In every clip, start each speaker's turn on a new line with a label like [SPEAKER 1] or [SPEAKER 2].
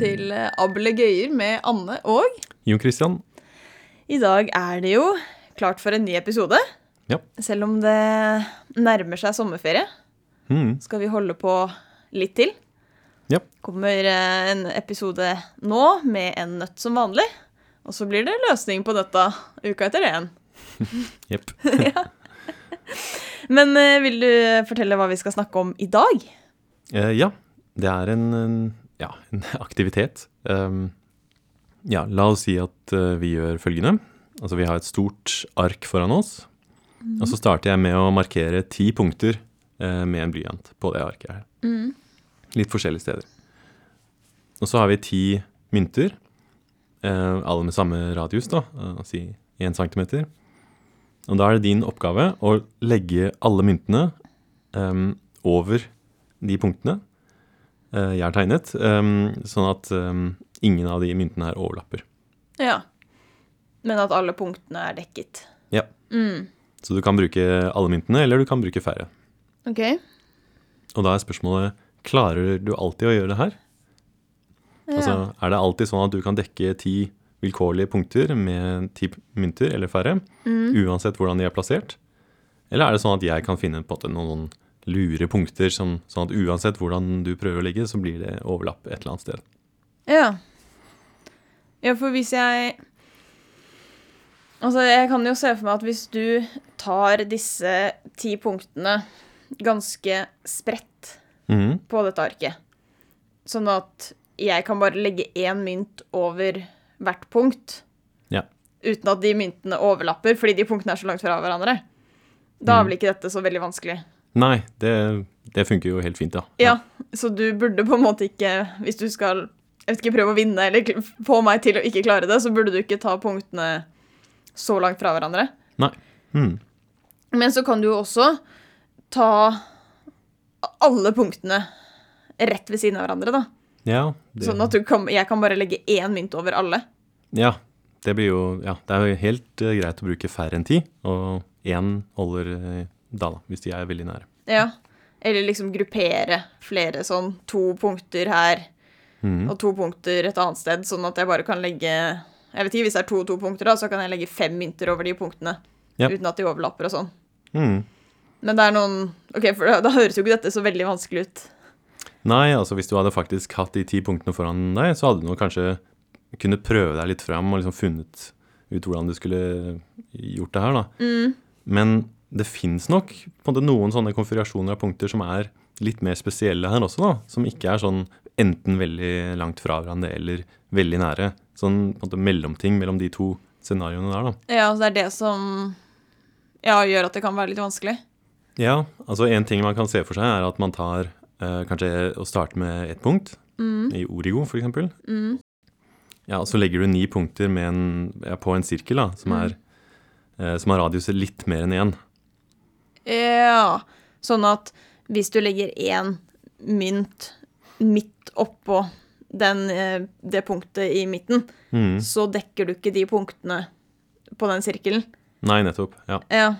[SPEAKER 1] eh, ablegøyer eh, med Anne og
[SPEAKER 2] Jon Christian.
[SPEAKER 1] I dag er det jo klart for en ny episode.
[SPEAKER 2] Ja.
[SPEAKER 1] Selv om det nærmer seg sommerferie,
[SPEAKER 2] Mm.
[SPEAKER 1] skal vi holde på litt til.
[SPEAKER 2] Ja.
[SPEAKER 1] Kommer eh, en episode nå med en nøtt som vanlig. Og så blir det løsning på dette uka etter det igjen.
[SPEAKER 2] Jepp.
[SPEAKER 1] Men eh, vil du fortelle hva vi skal snakke om i dag?
[SPEAKER 2] Eh, ja, det er en, en, ja, en aktivitet. Um, ja, la oss si at eh, vi gjør følgende. Altså, vi har et stort ark foran oss. Og så starter jeg med å markere ti punkter eh, med en blyant på det arket her. Litt forskjellige steder. Og så har vi ti mynter, eh, alle med samme radius, da, eh, si én centimeter. Og da er det din oppgave å legge alle myntene em, over de punktene eh, jeg har tegnet, em, sånn at em, ingen av de myntene her overlapper.
[SPEAKER 1] Ja. Men at alle punktene er dekket.
[SPEAKER 2] Ja.
[SPEAKER 1] Mm.
[SPEAKER 2] Så du kan bruke alle myntene, eller du kan bruke færre.
[SPEAKER 1] Ok.
[SPEAKER 2] Og da er spørsmålet klarer du alltid å gjøre det her?
[SPEAKER 1] Ja.
[SPEAKER 2] Altså, er det alltid sånn at du kan dekke ti vilkårlige punkter med ti p- mynter eller færre,
[SPEAKER 1] Mm.
[SPEAKER 2] uansett hvordan de er plassert? Eller er det sånn at jeg kan finne på en måte noen lure punkter, som, sånn at uansett hvordan du prøver å ligge, så blir det overlapp et eller annet sted?
[SPEAKER 1] Ja. Ja, for hvis jeg Altså, jeg kan jo se for meg at hvis du tar disse ti punktene ganske spredt
[SPEAKER 2] Mhm.
[SPEAKER 1] på dette arket, sånn at jeg kan bare legge én mynt over hvert punkt
[SPEAKER 2] Ja.
[SPEAKER 1] uten at de myntene overlapper, fordi de punktene er så langt fra hverandre, da er vel ikke dette så veldig vanskelig.
[SPEAKER 2] Nei, det, det funker jo helt fint, da.
[SPEAKER 1] Ja, så du burde på en måte ikke Hvis du skal jeg vet ikke, prøve å vinne eller kl- få meg til å ikke klare det, så burde du ikke ta punktene så langt fra hverandre.
[SPEAKER 2] Nei. Mm.
[SPEAKER 1] Men så kan du jo også ta alle punktene rett ved siden av hverandre, da.
[SPEAKER 2] Ja, det,
[SPEAKER 1] Sånn at du kan, jeg kan bare legge én mynt over alle.
[SPEAKER 2] ja, det blir jo Ja, det er jo helt eh, greit å bruke færre enn ti, og én holder eh, da, da, hvis de er veldig nære.
[SPEAKER 1] Ja. Eller liksom gruppere flere sånn to punkter her
[SPEAKER 2] Mhm.
[SPEAKER 1] og to punkter et annet sted, sånn at jeg bare kan legge Jeg vet ikke, hvis det er to og to punkter, da, så kan jeg legge fem mynter over de punktene.
[SPEAKER 2] Ja.
[SPEAKER 1] Uten at de overlapper og sånn.
[SPEAKER 2] Mm.
[SPEAKER 1] Men det er noen Ok, for da, da høres jo ikke dette så veldig vanskelig ut.
[SPEAKER 2] Nei, altså hvis du hadde faktisk hatt de ti punktene foran deg, så hadde du nok kanskje kunnet prøve deg litt fram og liksom funnet ut hvordan du skulle gjort det her, da. Men det fins nok på en måte noen sånne konfigurasjoner av punkter som er litt mer spesielle her også, da. Som ikke er sånn enten veldig langt fra hverandre eller veldig nære. Sånn på en måte mellomting mellom de to scenarioene der, da.
[SPEAKER 1] Ja, så det er det som ja, gjør at det kan være litt vanskelig.
[SPEAKER 2] Ja, altså en ting man kan se for seg er at man tar eh, kanskje å starte med ett punkt, i Origo for eksempel. Ja, og så legger du ni punkter med en, ja, på en sirkel da, som, er, eh, som har radiuset litt mer enn én.
[SPEAKER 1] Ja. Sånn at hvis du legger én mynt midt oppå den, eh, det punktet i midten,
[SPEAKER 2] Mm.
[SPEAKER 1] så dekker du ikke de punktene på den sirkelen.
[SPEAKER 2] Nei, nettopp, ja.
[SPEAKER 1] Ja.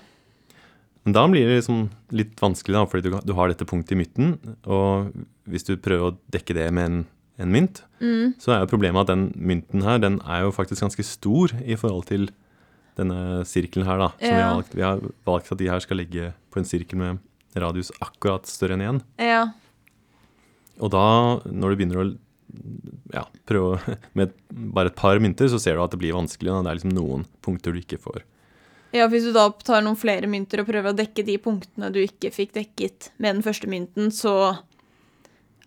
[SPEAKER 2] Men da blir det liksom litt vanskelig, da, fordi du, du har dette punktet i midten. Og hvis du prøver å dekke det med en, en mynt,
[SPEAKER 1] Mm.
[SPEAKER 2] så er jo problemet at den mynten her, den er jo faktisk ganske stor i forhold til denne sirkelen her, da. Som vi, har
[SPEAKER 1] Ja.
[SPEAKER 2] valgt, vi har valgt at de her skal ligge på en sirkel med radius akkurat større enn én.
[SPEAKER 1] ja.
[SPEAKER 2] Og da, når du begynner å ja, prøve å- med bare et par mynter, så ser du at det blir vanskelig. Da. Det er liksom noen punkter du ikke får.
[SPEAKER 1] Ja, Hvis du da tar noen flere mynter og prøver å dekke de punktene du ikke fikk dekket med den første mynten, så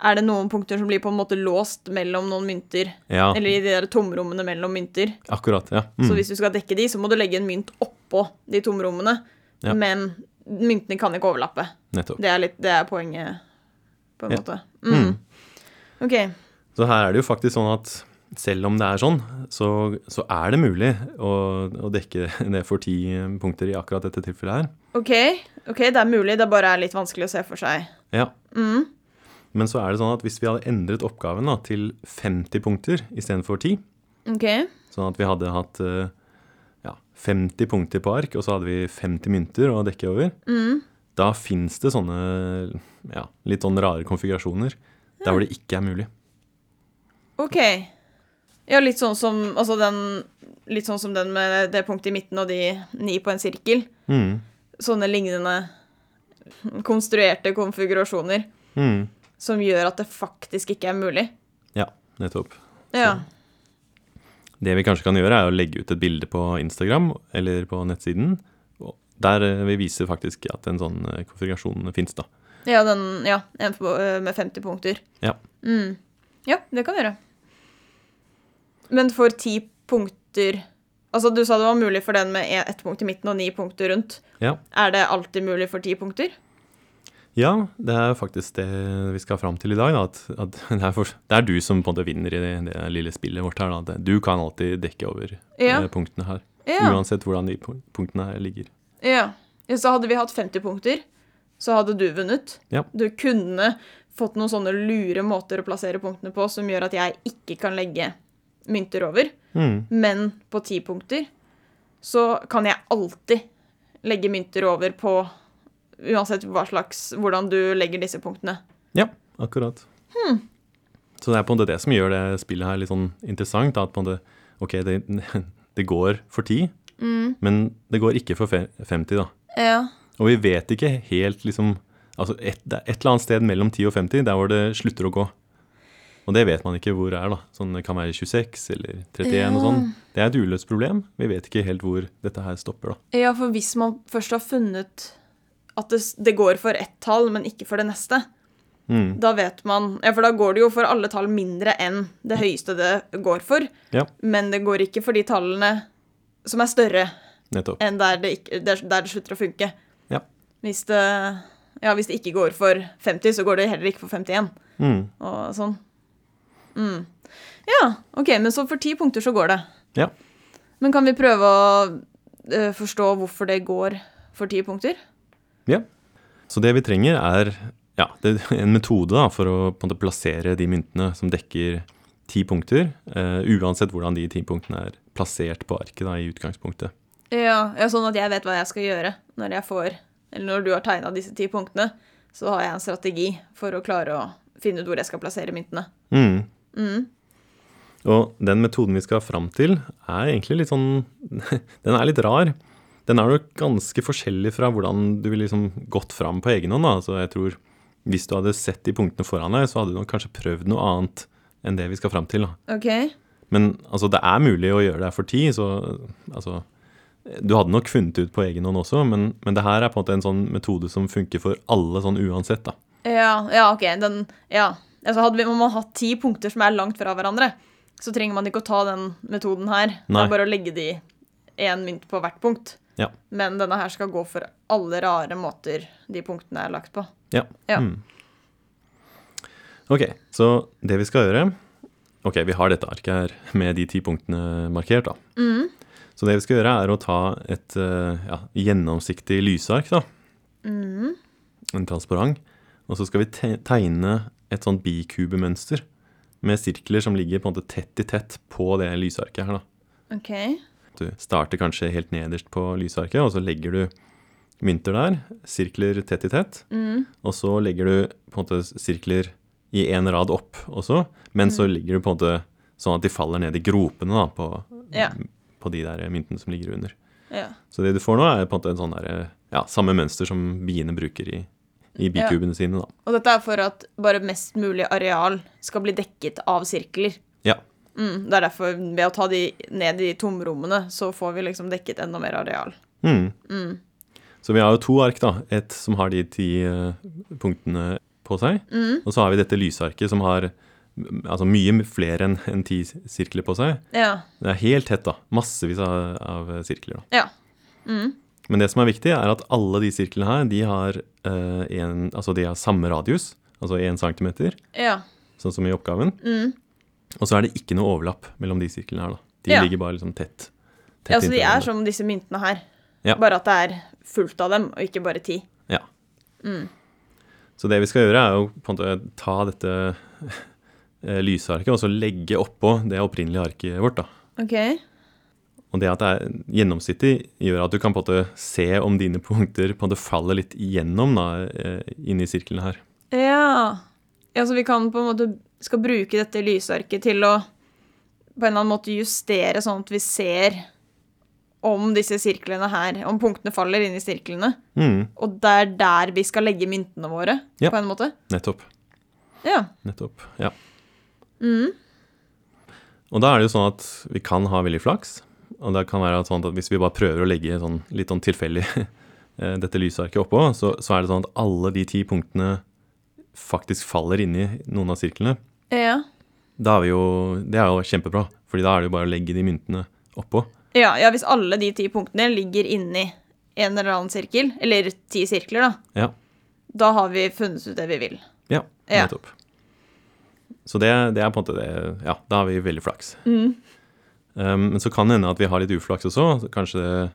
[SPEAKER 1] er det noen punkter som blir på en måte låst mellom noen mynter.
[SPEAKER 2] Ja,
[SPEAKER 1] Eller i de der tomrommene mellom mynter.
[SPEAKER 2] akkurat. Ja. Mm.
[SPEAKER 1] Så hvis du skal dekke de, så må du legge en mynt oppå de tomrommene.
[SPEAKER 2] Ja.
[SPEAKER 1] Men myntene kan ikke overlappe.
[SPEAKER 2] Nettopp.
[SPEAKER 1] Det er, litt, det er poenget, på en
[SPEAKER 2] Ja.
[SPEAKER 1] måte. Mm. OK.
[SPEAKER 2] Så her er det jo faktisk sånn at selv om det er sånn, så, så er det mulig å, å dekke det for ti eh, punkter i akkurat dette tilfellet her.
[SPEAKER 1] OK, ok, det er mulig. Det bare er litt vanskelig å se for seg.
[SPEAKER 2] Ja. Men så er det sånn at hvis vi hadde endret oppgaven da, til 50 punkter istedenfor 10,
[SPEAKER 1] OK.
[SPEAKER 2] sånn at vi hadde hatt eh, ja, 50 punkter på ark, og så hadde vi 50 mynter å dekke over, da fins det sånne ja, litt sånn rare konfigurasjoner der hvor det ikke er mulig.
[SPEAKER 1] OK. Ja, litt sånn som, altså den, litt sånn som den med det punktet i midten og de ni på en sirkel.
[SPEAKER 2] Mm.
[SPEAKER 1] Sånne lignende konstruerte konfigurasjoner
[SPEAKER 2] Mm.
[SPEAKER 1] som gjør at det faktisk ikke er mulig.
[SPEAKER 2] Ja, nettopp.
[SPEAKER 1] Ja.
[SPEAKER 2] Det vi kanskje kan gjøre, er å legge ut et bilde på Instagram eller på nettsiden. og Der eh, vi viser faktisk at en sånn eh, konfigurasjon fins, da.
[SPEAKER 1] Ja, den, ja, en på- eh, med 50 punkter.
[SPEAKER 2] Ja.
[SPEAKER 1] Mm. Ja, det kan vi gjøre. Men for ti punkter Altså, du sa det var mulig for den med e- ett punkt i midten og ni punkter rundt.
[SPEAKER 2] Ja.
[SPEAKER 1] Er det alltid mulig for ti punkter?
[SPEAKER 2] ja, det er faktisk det vi skal fram til i dag. Da, at, at det, er for, det er du som på en måte vinner i det, det lille spillet vårt her. Da. at Du kan alltid dekke over
[SPEAKER 1] Ja.
[SPEAKER 2] eh, punktene her.
[SPEAKER 1] Ja.
[SPEAKER 2] Uansett hvordan de punk- punktene her ligger.
[SPEAKER 1] Ja. ja. Så hadde vi hatt 50 punkter, så hadde du vunnet.
[SPEAKER 2] Ja.
[SPEAKER 1] Du kunne fått noen sånne lure måter å plassere punktene på som gjør at jeg ikke kan legge mynter over.
[SPEAKER 2] Mm.
[SPEAKER 1] Men på ti punkter så kan jeg alltid legge mynter over på Uansett hva slags, hvordan du legger disse punktene.
[SPEAKER 2] Ja, akkurat. Så det er på en måte det som gjør det spillet her litt sånn interessant. Da, at på en måte, ok, det, det går for 10, men det går ikke for fe- 50, da.
[SPEAKER 1] Ja.
[SPEAKER 2] Og vi vet ikke helt liksom Altså et, det er et eller annet sted mellom 10 og 50, der hvor det slutter å gå. Og det vet man ikke hvor det er, da. Sånn, det kan være 26 eller 31 og sånn. Det er et uløst problem. Vi vet ikke helt hvor dette her stopper, da.
[SPEAKER 1] ja, for hvis man først har funnet at det, det går for ett tall, men ikke for det neste,
[SPEAKER 2] Mm.
[SPEAKER 1] Da vet man Ja, for da går det jo for alle tall mindre enn det høyeste det går for.
[SPEAKER 2] Ja,
[SPEAKER 1] Men det går ikke for de tallene som er større
[SPEAKER 2] nettopp.
[SPEAKER 1] enn der det, ikke, der, der det slutter å funke.
[SPEAKER 2] Ja.
[SPEAKER 1] Hvis det, ja, hvis det ikke går for 50, så går det heller ikke for 51.
[SPEAKER 2] Mm.
[SPEAKER 1] Og sånn. Mm. Ja, OK, men så for ti punkter så går det.
[SPEAKER 2] Ja.
[SPEAKER 1] Men kan vi prøve å eh, forstå hvorfor det går for ti punkter?
[SPEAKER 2] Ja. Så det vi trenger er ja, det, en metode da, for å på en måte, plassere de myntene som dekker ti punkter, eh, uansett hvordan de ti punktene er plassert på arket da, i utgangspunktet.
[SPEAKER 1] Ja, ja, sånn at jeg vet hva jeg skal gjøre når jeg får Eller når du har tegna disse ti punktene, så har jeg en strategi for å klare å finne ut hvor jeg skal plassere myntene.
[SPEAKER 2] Mm.
[SPEAKER 1] Mm.
[SPEAKER 2] Og den metoden vi skal fram til, er egentlig litt sånn Den er litt rar. Den er nok ganske forskjellig fra hvordan du ville liksom gått fram på egen hånd. Da. Så jeg tror hvis du hadde sett de punktene foran deg, så hadde du nok kanskje prøvd noe annet enn det vi skal fram til. Da.
[SPEAKER 1] OK.
[SPEAKER 2] Men altså, det er mulig å gjøre det for ti, så altså Du hadde nok funnet det ut på egen hånd også, men, men det her er på en måte en sånn metode som funker for alle sånn uansett, da.
[SPEAKER 1] Ja, ja OK. Den Ja. Altså, hadde vi, om man hatt ti punkter som er langt fra hverandre, så trenger man ikke å ta den metoden her. Det
[SPEAKER 2] Nei.
[SPEAKER 1] er bare å legge de én mynt på hvert punkt.
[SPEAKER 2] Ja.
[SPEAKER 1] Men denne her skal gå for alle rare måter de punktene er lagt på.
[SPEAKER 2] Ja.
[SPEAKER 1] Ja.
[SPEAKER 2] Mm. Ok, så det vi skal gjøre Ok, vi har dette arket her med de ti punktene markert, da. Så det vi skal gjøre, er å ta et eh, ja, gjennomsiktig lysark, da. En transparent. Og så skal vi te- tegne et sånt bikubemønster med sirkler som ligger på en måte tett i tett på det lysarket her, da.
[SPEAKER 1] OK.
[SPEAKER 2] Du starter kanskje helt nederst på lysarket, og så legger du mynter der, sirkler tett i tett, og så legger du på en måte sirkler i en rad opp også, men så legger du på en måte sånn at de faller ned i gropene da, på,
[SPEAKER 1] Ja.
[SPEAKER 2] på de der myntene som ligger under.
[SPEAKER 1] Ja.
[SPEAKER 2] Så det du får nå er på en måte en sånn der, ja, samme mønster som biene bruker i, i
[SPEAKER 1] Ja.
[SPEAKER 2] bikubene sine da.
[SPEAKER 1] Og dette er for at bare mest mulig areal skal bli dekket av sirkler.
[SPEAKER 2] Ja,
[SPEAKER 1] Mm, det er derfor ved å ta de ned i tomrommene, så får vi liksom dekket enda mer areal.
[SPEAKER 2] Mm. Så vi har jo to ark, da. Et som har de ti eh, punktene på seg.
[SPEAKER 1] Mm.
[SPEAKER 2] Og så har vi dette lysarket som har mm, altså, mye flere enn enn ti sirkler på seg.
[SPEAKER 1] Ja.
[SPEAKER 2] Det er helt tett, da. Massevis av, av sirkler. da.
[SPEAKER 1] Ja.
[SPEAKER 2] Men det som er viktig, er at alle de sirklene her, de har, eh, en, altså, de har samme radius. Altså én centimeter,
[SPEAKER 1] Ja.
[SPEAKER 2] sånn som i oppgaven.
[SPEAKER 1] Mm.
[SPEAKER 2] Og så er det ikke noe overlapp mellom de sirklene her, da. De
[SPEAKER 1] Ja.
[SPEAKER 2] ligger bare liksom tett. tett
[SPEAKER 1] ja så de
[SPEAKER 2] inntil
[SPEAKER 1] er
[SPEAKER 2] hverandre.
[SPEAKER 1] som disse myntene her.
[SPEAKER 2] Ja.
[SPEAKER 1] Bare at det er fullt av dem, og ikke bare ti.
[SPEAKER 2] Ja. Så det vi skal gjøre, er jo på en måte ta dette eh, lysarket og så legge oppå det opprinnelige arket vårt. da.
[SPEAKER 1] Ok.
[SPEAKER 2] Og det at det er gjennomsiktig, gjør at du kan på en måte se om dine punkter på en måte faller litt igjennom da, eh, inni sirkelen her.
[SPEAKER 1] Ja. ja. Så vi kan på en måte skal bruke dette lysarket til å på en eller annen måte justere sånn at vi ser om disse sirklene her, om punktene faller inn i sirklene.
[SPEAKER 2] Mm,
[SPEAKER 1] Og det er der vi skal legge myntene våre,
[SPEAKER 2] Ja.
[SPEAKER 1] på en måte.
[SPEAKER 2] nettopp.
[SPEAKER 1] Ja.
[SPEAKER 2] Nettopp. Ja. Og da er det jo sånn at vi kan ha veldig flaks. Og det kan være at sånn at hvis vi bare prøver å legge sånn, litt sånn tilfeldig eh, dette lysarket oppå, så, så er det sånn at alle de ti punktene faktisk faller inni noen av sirklene.
[SPEAKER 1] Ja,
[SPEAKER 2] Da er vi jo, det er jo kjempebra, Fordi da er det jo bare å legge de myntene oppå.
[SPEAKER 1] ja, ja hvis alle de ti punktene ligger inni en eller annen sirkel, eller ti sirkler, da,
[SPEAKER 2] Ja,
[SPEAKER 1] da har vi funnet ut det vi vil.
[SPEAKER 2] ja
[SPEAKER 1] Ja.
[SPEAKER 2] nettopp. Så det, det er på en måte det Ja, da har vi veldig flaks.
[SPEAKER 1] Mm.
[SPEAKER 2] Um, men så kan det hende at vi har litt uflaks også. så Kanskje det,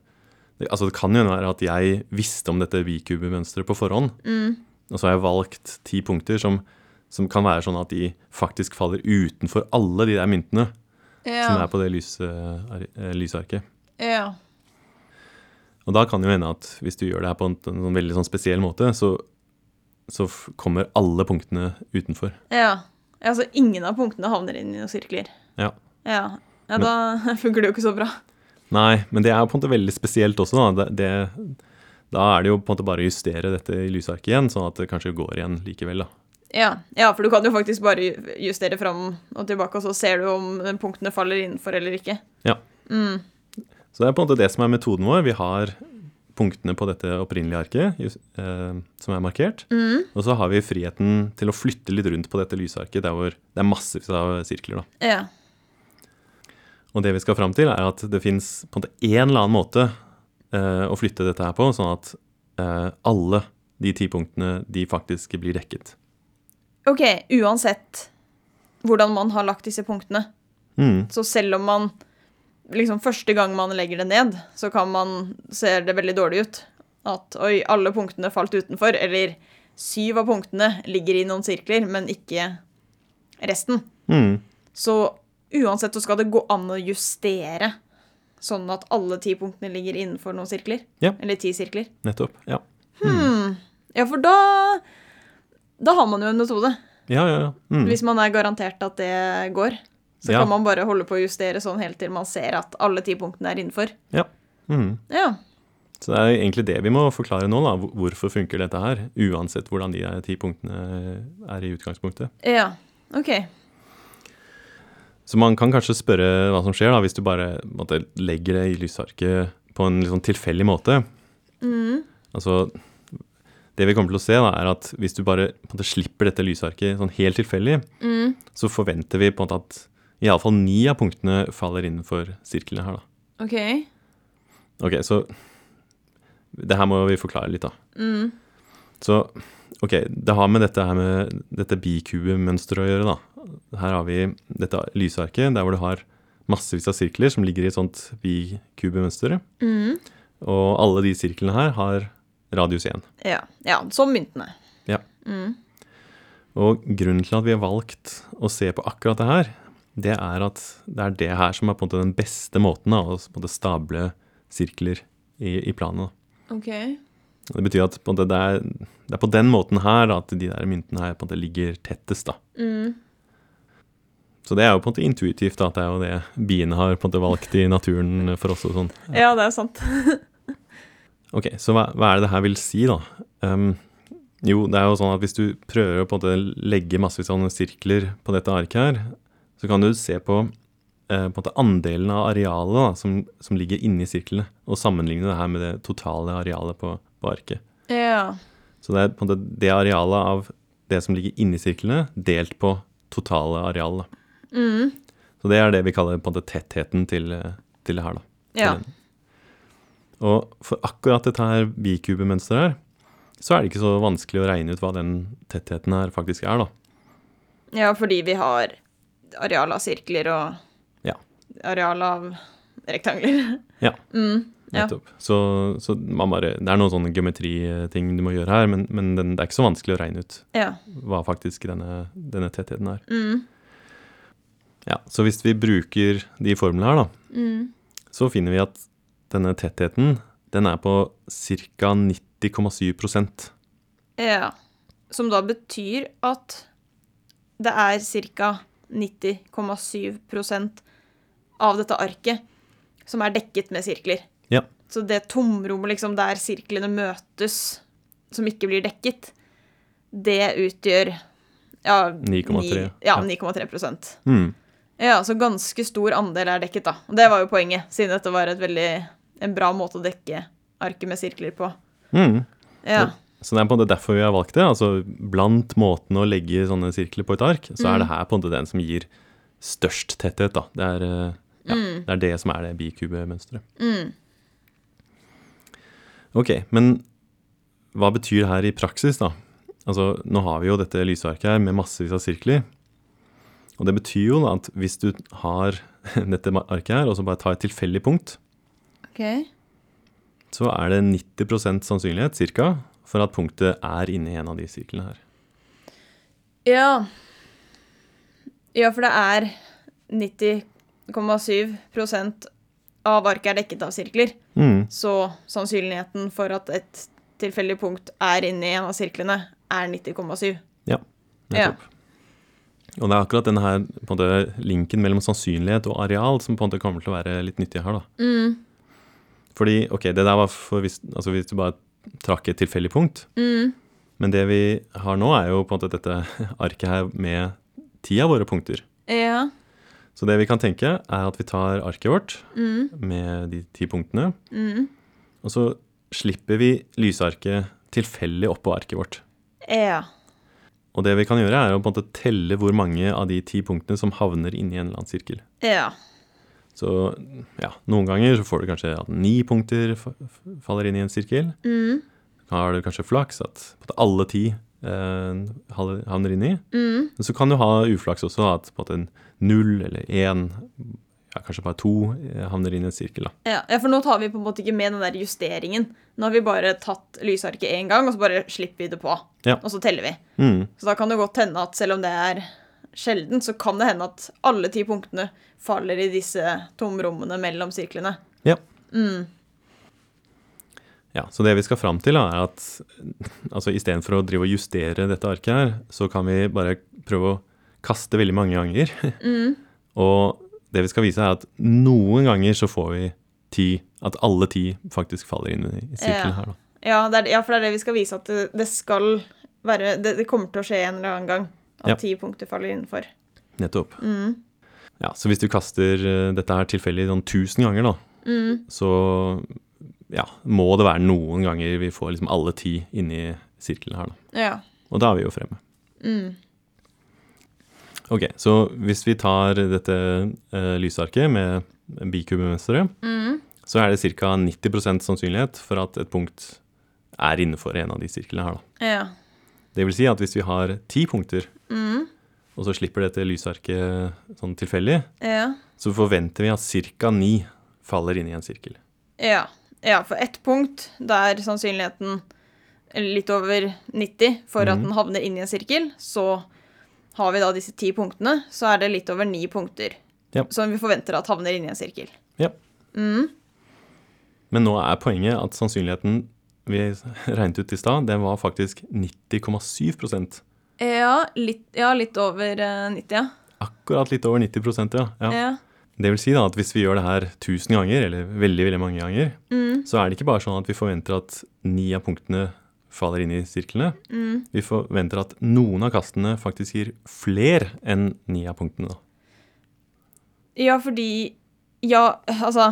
[SPEAKER 2] det Altså det kan jo være at jeg visste om dette bikubemønsteret på forhånd.
[SPEAKER 1] Mm.
[SPEAKER 2] Og så har jeg valgt ti punkter som, som kan være sånn at de faktisk faller utenfor alle de der myntene som
[SPEAKER 1] Ja.
[SPEAKER 2] er på det lyse, eh, lysarket.
[SPEAKER 1] ja.
[SPEAKER 2] Og da kan det jo hende at hvis du gjør det her på en, en sånn veldig sånn spesiell måte, så, så f- kommer alle punktene utenfor.
[SPEAKER 1] Ja. Altså, ingen av punktene havner inn i noen sirkler.
[SPEAKER 2] Ja.
[SPEAKER 1] Ja. ja, da funker det jo ikke så bra.
[SPEAKER 2] Nei, men det er jo på en måte veldig spesielt også. Da, det, det, da er det jo på en måte bare å justere dette i lysarket igjen, sånn at det kanskje går igjen likevel. da.
[SPEAKER 1] Ja, ja for du kan jo faktisk bare ju- justere fram og tilbake, og så ser du om punktene faller innenfor eller ikke.
[SPEAKER 2] Ja. Så det er på en måte det som er metoden vår. Vi har punktene på dette opprinnelige arket jus- eh, som er markert. Og så har vi friheten til å flytte litt rundt på dette lysarket der hvor det er massevis av sirkler. da.
[SPEAKER 1] Ja.
[SPEAKER 2] Og det vi skal fram til, er at det fins på en måte en eller annen måte eh, å flytte dette her på, sånn at eh, alle de ti punktene de faktisk blir dekket.
[SPEAKER 1] OK, uansett hvordan man har lagt disse punktene,
[SPEAKER 2] Mm,
[SPEAKER 1] så selv om man liksom første gang man legger det ned, så kan man se det veldig dårlig ut. At oi, alle punktene falt utenfor, eller syv av punktene ligger i noen sirkler, men ikke resten.
[SPEAKER 2] mm,
[SPEAKER 1] Så uansett så skal det gå an å justere, sånn at alle ti punktene ligger innenfor noen sirkler.
[SPEAKER 2] Ja. Mm.
[SPEAKER 1] Eller ti sirkler. Hmm.
[SPEAKER 2] nettopp. Ja.
[SPEAKER 1] Ja, for da Da har man jo en metode.
[SPEAKER 2] Ja, ja, ja. Mm.
[SPEAKER 1] Hvis man er garantert at det går. Så
[SPEAKER 2] Ja.
[SPEAKER 1] kan man bare holde på å justere sånn helt til man ser at alle ti punktene er innenfor.
[SPEAKER 2] ja. Mm.
[SPEAKER 1] Ja.
[SPEAKER 2] Så det er egentlig det vi må forklare nå, da. Hvor- Hvorfor funker dette her? Uansett hvordan de er- ti punktene er i utgangspunktet.
[SPEAKER 1] Ja. OK.
[SPEAKER 2] Så man kan kanskje spørre hva som skjer da, hvis du bare på en måte, legger det i lysarket på en litt sånn tilfeldig måte. Altså, det vi kommer til å se, da, er at hvis du bare på en måte, slipper dette lysarket sånn helt tilfeldig, så forventer vi på en måte at iallfall ni av punktene faller innenfor sirklene her, da.
[SPEAKER 1] OK.
[SPEAKER 2] Ok, så Det her må vi forklare litt, da. Så ok, det har med dette her med dette bikubemønsteret å gjøre, da. Her har vi dette lysarket, der hvor du har massevis av sirkler som ligger i et sånt bikubemønster. Og alle de sirklene her har radius 1.
[SPEAKER 1] Ja. ja som myntene.
[SPEAKER 2] Ja. Og grunnen til at vi har valgt å se på akkurat det her, det er at det er det her som er på en måte den beste måten da, å på en måte stable sirkler i, i planen. da.
[SPEAKER 1] OK.
[SPEAKER 2] Og Det betyr at på en måte det, er, det er på den måten her da, at de der myntene her på en måte ligger tettest. da. Så det er jo på en måte intuitivt da, at det er jo det biene har på en måte valgt i naturen for oss. og sånn.
[SPEAKER 1] Ja, det er sant.
[SPEAKER 2] Ok, Så hva, hva er det det her vil si, da? Ehm, jo, det er jo sånn at hvis du prøver å på en måte legge massevis av sånne sirkler på dette arket her, så kan du se på, eh, på en måte andelen av arealet da, som, som ligger inni sirklene, og sammenligne det her med det totale arealet på, på arket.
[SPEAKER 1] Ja.
[SPEAKER 2] Så det er på en måte det arealet av det som ligger inni sirklene, delt på totale areal. da. Så det er det vi kaller på en måte tettheten til, til det her. da.
[SPEAKER 1] Ja.
[SPEAKER 2] Til den. Og for akkurat dette her bikubemønsteret her, så er det ikke så vanskelig å regne ut hva den tettheten her faktisk er, da.
[SPEAKER 1] ja, fordi vi har areal av sirkler og
[SPEAKER 2] Ja.
[SPEAKER 1] areal av rektangler.
[SPEAKER 2] Ja,
[SPEAKER 1] Ja.
[SPEAKER 2] nettopp. Så, så man bare, det er noen sånne geometriting du må gjøre her, men, men den, det er ikke så vanskelig å regne ut.
[SPEAKER 1] Ja.
[SPEAKER 2] hva faktisk denne, denne tettheten er. Ja, så hvis vi bruker de formlene her, da, så finner vi at denne tettheten den er på ca. 90,7
[SPEAKER 1] Ja. Som da betyr at det er ca. 90,7 av dette arket som er dekket med sirkler.
[SPEAKER 2] Ja.
[SPEAKER 1] Så det tomrommet liksom der sirklene møtes, som ikke blir dekket, det utgjør ja,
[SPEAKER 2] 9,3.
[SPEAKER 1] ni- Ja,
[SPEAKER 2] Ja.
[SPEAKER 1] 9,3 prosent.
[SPEAKER 2] Mm.
[SPEAKER 1] Ja, så ganske stor andel er dekket, da. Og det var jo poenget, siden dette var et veldig, en bra måte å dekke arket med sirkler på.
[SPEAKER 2] Mm.
[SPEAKER 1] Ja.
[SPEAKER 2] Så det er på en måte derfor vi har valgt det. altså Blant måtene å legge sånne sirkler på et ark, så er det her på en måte den som gir størst tetthet. da. Det er, eh, ja, det, er det som er det bikubemønsteret. Ok, men hva betyr det her i praksis, da? Altså, Nå har vi jo dette lysarket her med massevis av sirkler. Og det betyr jo da at hvis du har dette arket her, og så bare tar et tilfeldig punkt,
[SPEAKER 1] Ok.
[SPEAKER 2] så er det 90 sannsynlighet cirka, for at punktet er inni en av de sirklene her.
[SPEAKER 1] Ja. Ja, for det er 90,7 av arket er dekket av sirkler.
[SPEAKER 2] Mm.
[SPEAKER 1] Så sannsynligheten for at et tilfeldig punkt er inni en av sirklene, er 90,7.
[SPEAKER 2] Ja, nettopp. Og det er akkurat denne her, på en måte, linken mellom sannsynlighet og areal som på en måte kommer til å være litt nyttig her. da. Fordi, ok, det der var for hvis, altså hvis du bare trakk et tilfeldig punkt. Men det vi har nå, er jo på en måte dette arket her med ti av våre punkter.
[SPEAKER 1] Ja.
[SPEAKER 2] Så det vi kan tenke, er at vi tar arket vårt med de ti punktene. Og så slipper vi lysarket tilfeldig oppå arket vårt.
[SPEAKER 1] Ja.
[SPEAKER 2] Og det vi kan gjøre, er å på en måte telle hvor mange av de ti punktene som havner inni en eller annen sirkel.
[SPEAKER 1] Ja.
[SPEAKER 2] Så ja, noen ganger så får du kanskje at ni punkter fa- f- faller inn i en sirkel. Da har du kanskje flaks at på en måte alle ti eh, hal- havner inni. Men så kan du ha uflaks også, at på en måte en null eller én, ja, kanskje bare to, eh, havner inn i en sirkel. da.
[SPEAKER 1] Ja, ja, for nå tar vi på en måte ikke med den der justeringen. Nå har vi bare tatt lysarket én gang, og så bare slipper vi det på.
[SPEAKER 2] Ja.
[SPEAKER 1] Og så teller vi.
[SPEAKER 2] Mm,
[SPEAKER 1] Så da kan det godt hende at selv om det er sjelden, så kan det hende at alle ti punktene faller i disse tomrommene mellom sirklene.
[SPEAKER 2] ja. Ja, Så det vi skal fram til, da, er at altså, istedenfor å drive og justere dette arket her, så kan vi bare prøve å kaste veldig mange ganger. Og det vi skal vise, er at noen ganger så får vi ti At alle ti faktisk faller inn i sirkelen
[SPEAKER 1] Ja.
[SPEAKER 2] her, da.
[SPEAKER 1] Ja, det er, ja for det er det vi skal vise, at det, det skal være det, det kommer til å skje en eller annen gang at
[SPEAKER 2] Ja.
[SPEAKER 1] ti punkter faller innenfor.
[SPEAKER 2] Nettopp. Ja, så hvis du kaster eh, dette her tilfeldig sånn 1000 ganger, da, så ja, må det være noen ganger vi får liksom alle ti inni sirkelen her, da.
[SPEAKER 1] Ja.
[SPEAKER 2] Og da er vi jo fremme. Ok, så hvis vi tar dette eh, lysarket med bikubemønsteret, så er det ca. 90 sannsynlighet for at et punkt er innenfor en av de sirklene her. Da.
[SPEAKER 1] Ja.
[SPEAKER 2] Det vil si at hvis vi har ti punkter, og så slipper dette lysarket sånn tilfeldig,
[SPEAKER 1] Ja.
[SPEAKER 2] så forventer vi at ca. ni faller inn i en sirkel.
[SPEAKER 1] Ja. ja, for ett punkt, da er sannsynligheten litt over 90 for
[SPEAKER 2] Mhm.
[SPEAKER 1] at den havner inn i en sirkel. Så har vi da disse ti punktene, så er det litt over ni punkter
[SPEAKER 2] Ja.
[SPEAKER 1] som vi forventer at havner inn i en sirkel.
[SPEAKER 2] Ja. Men nå er poenget at sannsynligheten vi regnet ut i stad, den var faktisk 90,7
[SPEAKER 1] Ja, litt, over 90, ja.
[SPEAKER 2] Akkurat litt over 90 ja. ja. Det vil si da at hvis vi gjør det her 1000 ganger, eller veldig veldig mange ganger, så er det ikke bare sånn at vi forventer at ni av punktene faller inn i sirklene. Vi forventer at noen av kastene faktisk gir fler enn ni av punktene. da.
[SPEAKER 1] Ja, fordi Ja, altså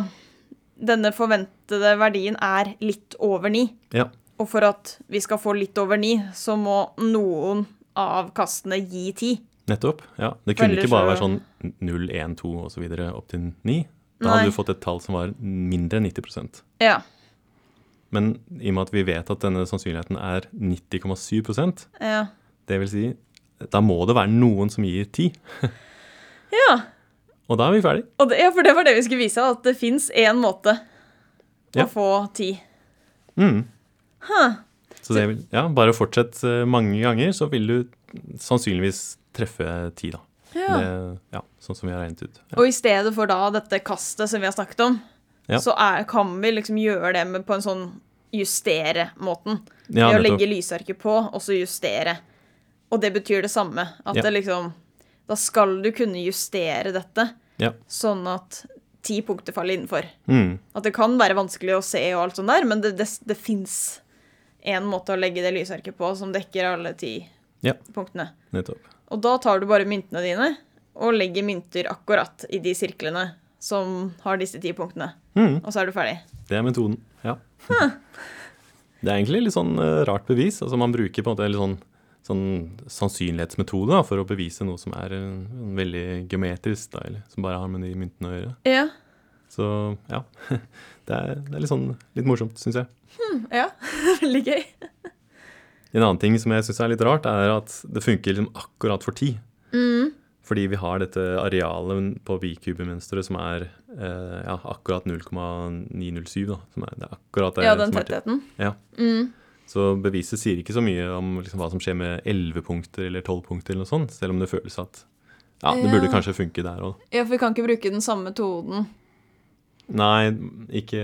[SPEAKER 1] Denne forventede verdien er litt over 9.
[SPEAKER 2] Ja,
[SPEAKER 1] Og for at vi skal få litt over 9, så må noen av kastene gi 10.
[SPEAKER 2] nettopp. Ja. Det kunne
[SPEAKER 1] Ellers
[SPEAKER 2] ikke bare
[SPEAKER 1] så-
[SPEAKER 2] være sånn 0, 1, 2 osv. opp til 9.
[SPEAKER 1] Nei.
[SPEAKER 2] Da hadde du fått et tall som var mindre enn 90
[SPEAKER 1] Ja.
[SPEAKER 2] Men i og med at vi vet at denne sannsynligheten er 90,7
[SPEAKER 1] ja.
[SPEAKER 2] Det vil si, da må det være noen som gir ti.
[SPEAKER 1] Ja.
[SPEAKER 2] Og da er vi ferdig.
[SPEAKER 1] Og det, ja, for det var det vi skulle vise, at det fins én måte
[SPEAKER 2] Ja.
[SPEAKER 1] å få ti.
[SPEAKER 2] Mm.
[SPEAKER 1] Huh.
[SPEAKER 2] Så det vil, ja, bare fortsett eh, mange ganger, så vil du sannsynligvis treffe ti, da.
[SPEAKER 1] Ja.
[SPEAKER 2] Det, ja, sånn som vi har regnet ut. Ja.
[SPEAKER 1] Og i stedet for da dette kastet som vi har snakket om,
[SPEAKER 2] Ja.
[SPEAKER 1] så er, kan vi liksom gjøre det med, på en sånn justere-måten.
[SPEAKER 2] Ja,
[SPEAKER 1] Ved å
[SPEAKER 2] nettopp.
[SPEAKER 1] legge lysarket på, og så justere. Og det betyr det samme. At
[SPEAKER 2] Ja.
[SPEAKER 1] det liksom Da skal du kunne justere dette,
[SPEAKER 2] Ja.
[SPEAKER 1] sånn at ti punkter faller innenfor.
[SPEAKER 2] Mm.
[SPEAKER 1] At det kan være vanskelig å se og alt sånt der, men det, det, det fins én måte å legge det lysarket på som dekker alle ti
[SPEAKER 2] Ja.
[SPEAKER 1] punktene.
[SPEAKER 2] Nettopp.
[SPEAKER 1] Og da tar du bare myntene dine og legger mynter akkurat i de sirklene som har disse ti punktene.
[SPEAKER 2] Mm.
[SPEAKER 1] Og så er du ferdig.
[SPEAKER 2] Det er metoden, ja. Det er egentlig litt sånn eh, rart bevis. Altså man bruker på en måte litt sånn, sånn sannsynlighetsmetode da, for å bevise noe som er en, en veldig geometrisk, da, eller som bare har med de myntene å gjøre.
[SPEAKER 1] Ja.
[SPEAKER 2] Så ja, det er, det er litt sånn litt morsomt, syns jeg.
[SPEAKER 1] ja. Veldig gøy.
[SPEAKER 2] En annen ting som jeg syns er litt rart, er at det funker liksom akkurat for ti.
[SPEAKER 1] Mm.
[SPEAKER 2] Fordi vi har dette arealet på bikubemønsteret som er eh, ja, akkurat 0,907. da, som er, Det er akkurat det
[SPEAKER 1] Ja, den
[SPEAKER 2] som er ti.
[SPEAKER 1] tettheten.
[SPEAKER 2] Ja. Så beviset sier ikke så mye om liksom, hva som skjer med 11 punkter eller 12 punkter, eller noe sånt, selv om det føles at ja, det burde
[SPEAKER 1] Ja.
[SPEAKER 2] kanskje funke der òg.
[SPEAKER 1] Ja, for vi kan ikke bruke den samme metoden.
[SPEAKER 2] Nei, ikke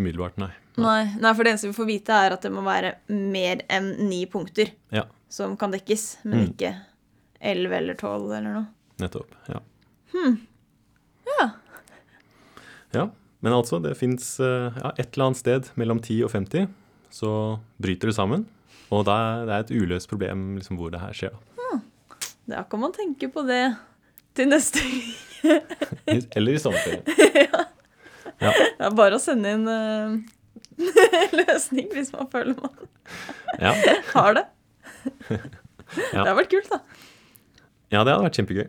[SPEAKER 2] umiddelbart, nei.
[SPEAKER 1] Nei. Nei, for det eneste vi får vite, er at det må være mer enn ni punkter
[SPEAKER 2] Ja,
[SPEAKER 1] som kan dekkes, men
[SPEAKER 2] Mm.
[SPEAKER 1] ikke elleve eller tolv eller noe.
[SPEAKER 2] nettopp. Ja.
[SPEAKER 1] Hmm. Ja.
[SPEAKER 2] ja. Men altså, det fins ja, et eller annet sted mellom 10 og 50, så bryter det sammen. Og det er, det er et uløst problem liksom, hvor det her skjer. da.
[SPEAKER 1] Da kan man tenke på det til neste gang.
[SPEAKER 2] I- Eller i sommerferien.
[SPEAKER 1] Det er bare å sende inn eh, løsning hvis man føler man
[SPEAKER 2] Ja.
[SPEAKER 1] har det.
[SPEAKER 2] Ja.
[SPEAKER 1] Det har vært kult, da.
[SPEAKER 2] ja, det hadde vært kjempegøy.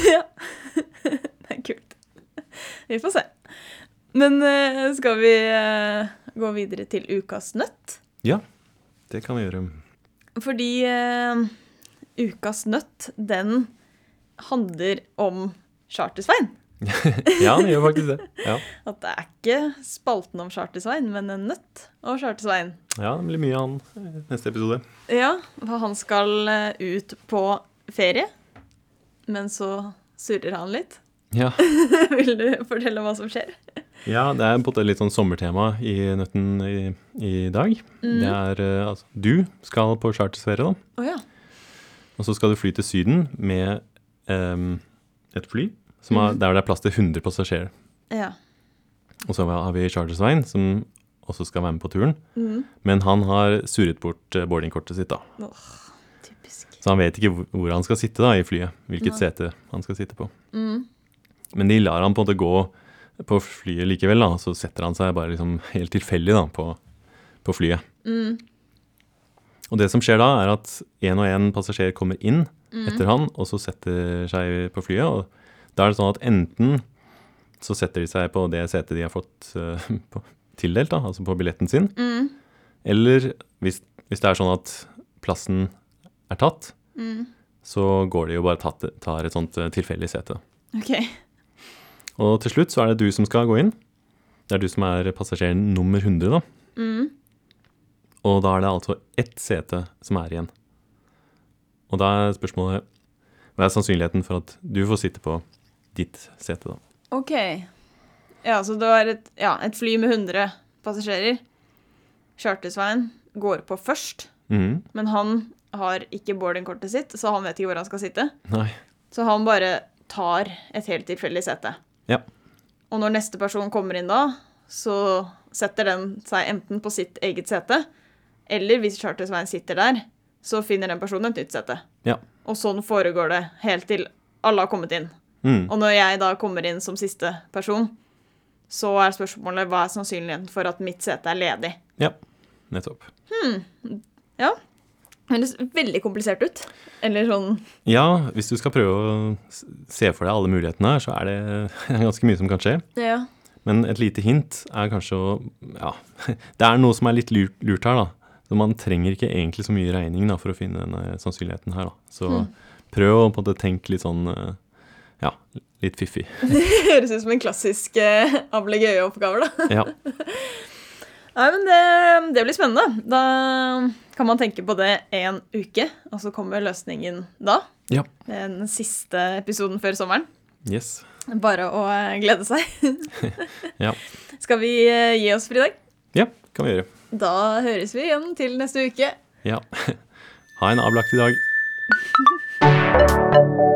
[SPEAKER 1] Det er kult. Vi får se. Men eh, skal vi eh, gå videre til ukas nøtt?
[SPEAKER 2] Ja, det kan vi gjøre.
[SPEAKER 1] Fordi eh, ukas nøtt, den handler om Charter-Svein.
[SPEAKER 2] Ja, det gjør faktisk det. Ja,
[SPEAKER 1] At det er ikke spalten om Charter-Svein, men en nøtt og Charter-Svein.
[SPEAKER 2] ja det blir mye av han eh, neste episode.
[SPEAKER 1] Ja, for han skal eh, ut på ferie, men så surrer han litt.
[SPEAKER 2] Ja.
[SPEAKER 1] Vil du fortelle hva som skjer?
[SPEAKER 2] Ja, det er på en måte litt sånn sommertema i Nøtten i, i dag. Det er eh, altså Du skal på charterferie, da.
[SPEAKER 1] Å ja.
[SPEAKER 2] Og så skal du fly til Syden med em, et fly som har, der det er plass til 100 passasjerer.
[SPEAKER 1] Ja.
[SPEAKER 2] Og så har vi Charter-Svein, som også skal være med på turen.
[SPEAKER 1] Mm.
[SPEAKER 2] Men han har surret bort eh, boardingkortet sitt, da.
[SPEAKER 1] Åh, typisk.
[SPEAKER 2] Så han vet ikke hvor- hvor han skal sitte da, i flyet. Hvilket sete han skal sitte på. Men de lar han på en måte gå på flyet likevel, da. og Så setter han seg bare liksom helt tilfeldig da, på, på flyet. Og det som skjer da, er at én og én passasjer kommer inn etter han, og så setter seg på flyet. Og da er det sånn at enten så setter de seg på det setet de har fått eh, på, tildelt, da, altså på billetten sin. Eller hvis, hvis det er sånn at plassen er tatt, så går de og bare tatt, tar et sånt eh, tilfeldig sete.
[SPEAKER 1] Ok.
[SPEAKER 2] Og til slutt så er det du som skal gå inn. Det er du som er passasjer nummer 100, da. Og da er det altså ett sete som er igjen. Og da er spørsmålet Hva er sannsynligheten for at du får sitte på ditt sete, da?
[SPEAKER 1] Ok. Ja, så det var et, ja, et fly med 100 passasjerer. Charter-Svein går på først,
[SPEAKER 2] Mhm.
[SPEAKER 1] men han har ikke boardingkortet sitt, så han vet ikke hvor han skal sitte.
[SPEAKER 2] Nei.
[SPEAKER 1] Så han bare tar et helt tilfeldig sete.
[SPEAKER 2] Ja.
[SPEAKER 1] Og når neste person kommer inn da, så setter den seg enten på sitt eget sete, eller hvis Charter-Svein sitter der, så finner den personen et nytt sete.
[SPEAKER 2] Ja.
[SPEAKER 1] Og sånn foregår det helt til alle har kommet inn.
[SPEAKER 2] Mhm.
[SPEAKER 1] Og når jeg da kommer inn som siste person, så er spørsmålet hva er sannsynligheten for at mitt sete er ledig?
[SPEAKER 2] ja. Nettopp.
[SPEAKER 1] Ja. Det høres veldig komplisert ut. Eller sånn
[SPEAKER 2] Ja, hvis du skal prøve å s- se for deg alle mulighetene her, så er det ganske mye som kan skje.
[SPEAKER 1] Ja.
[SPEAKER 2] Men et lite hint er kanskje å Ja, det er noe som er litt lurt, lurt her, da. Så man trenger ikke egentlig så mye regning da, for å finne denne sannsynligheten her. da. Så prøv å på en måte tenke litt sånn eh, Ja, litt fiffig.
[SPEAKER 1] Høres ut som en klassisk eh, ablegøye-oppgave, da.
[SPEAKER 2] Ja,
[SPEAKER 1] Nei, men det, det blir spennende. Da kan man tenke på det en uke, og så kommer løsningen da.
[SPEAKER 2] ja.
[SPEAKER 1] Den siste episoden før sommeren.
[SPEAKER 2] Yes.
[SPEAKER 1] Bare å eh, glede seg.
[SPEAKER 2] Ja.
[SPEAKER 1] Skal vi eh, gi oss for i dag?
[SPEAKER 2] ja, kan vi gjøre.
[SPEAKER 1] Da høres vi igjen til neste uke.
[SPEAKER 2] Ja. Ha en avlagt i dag.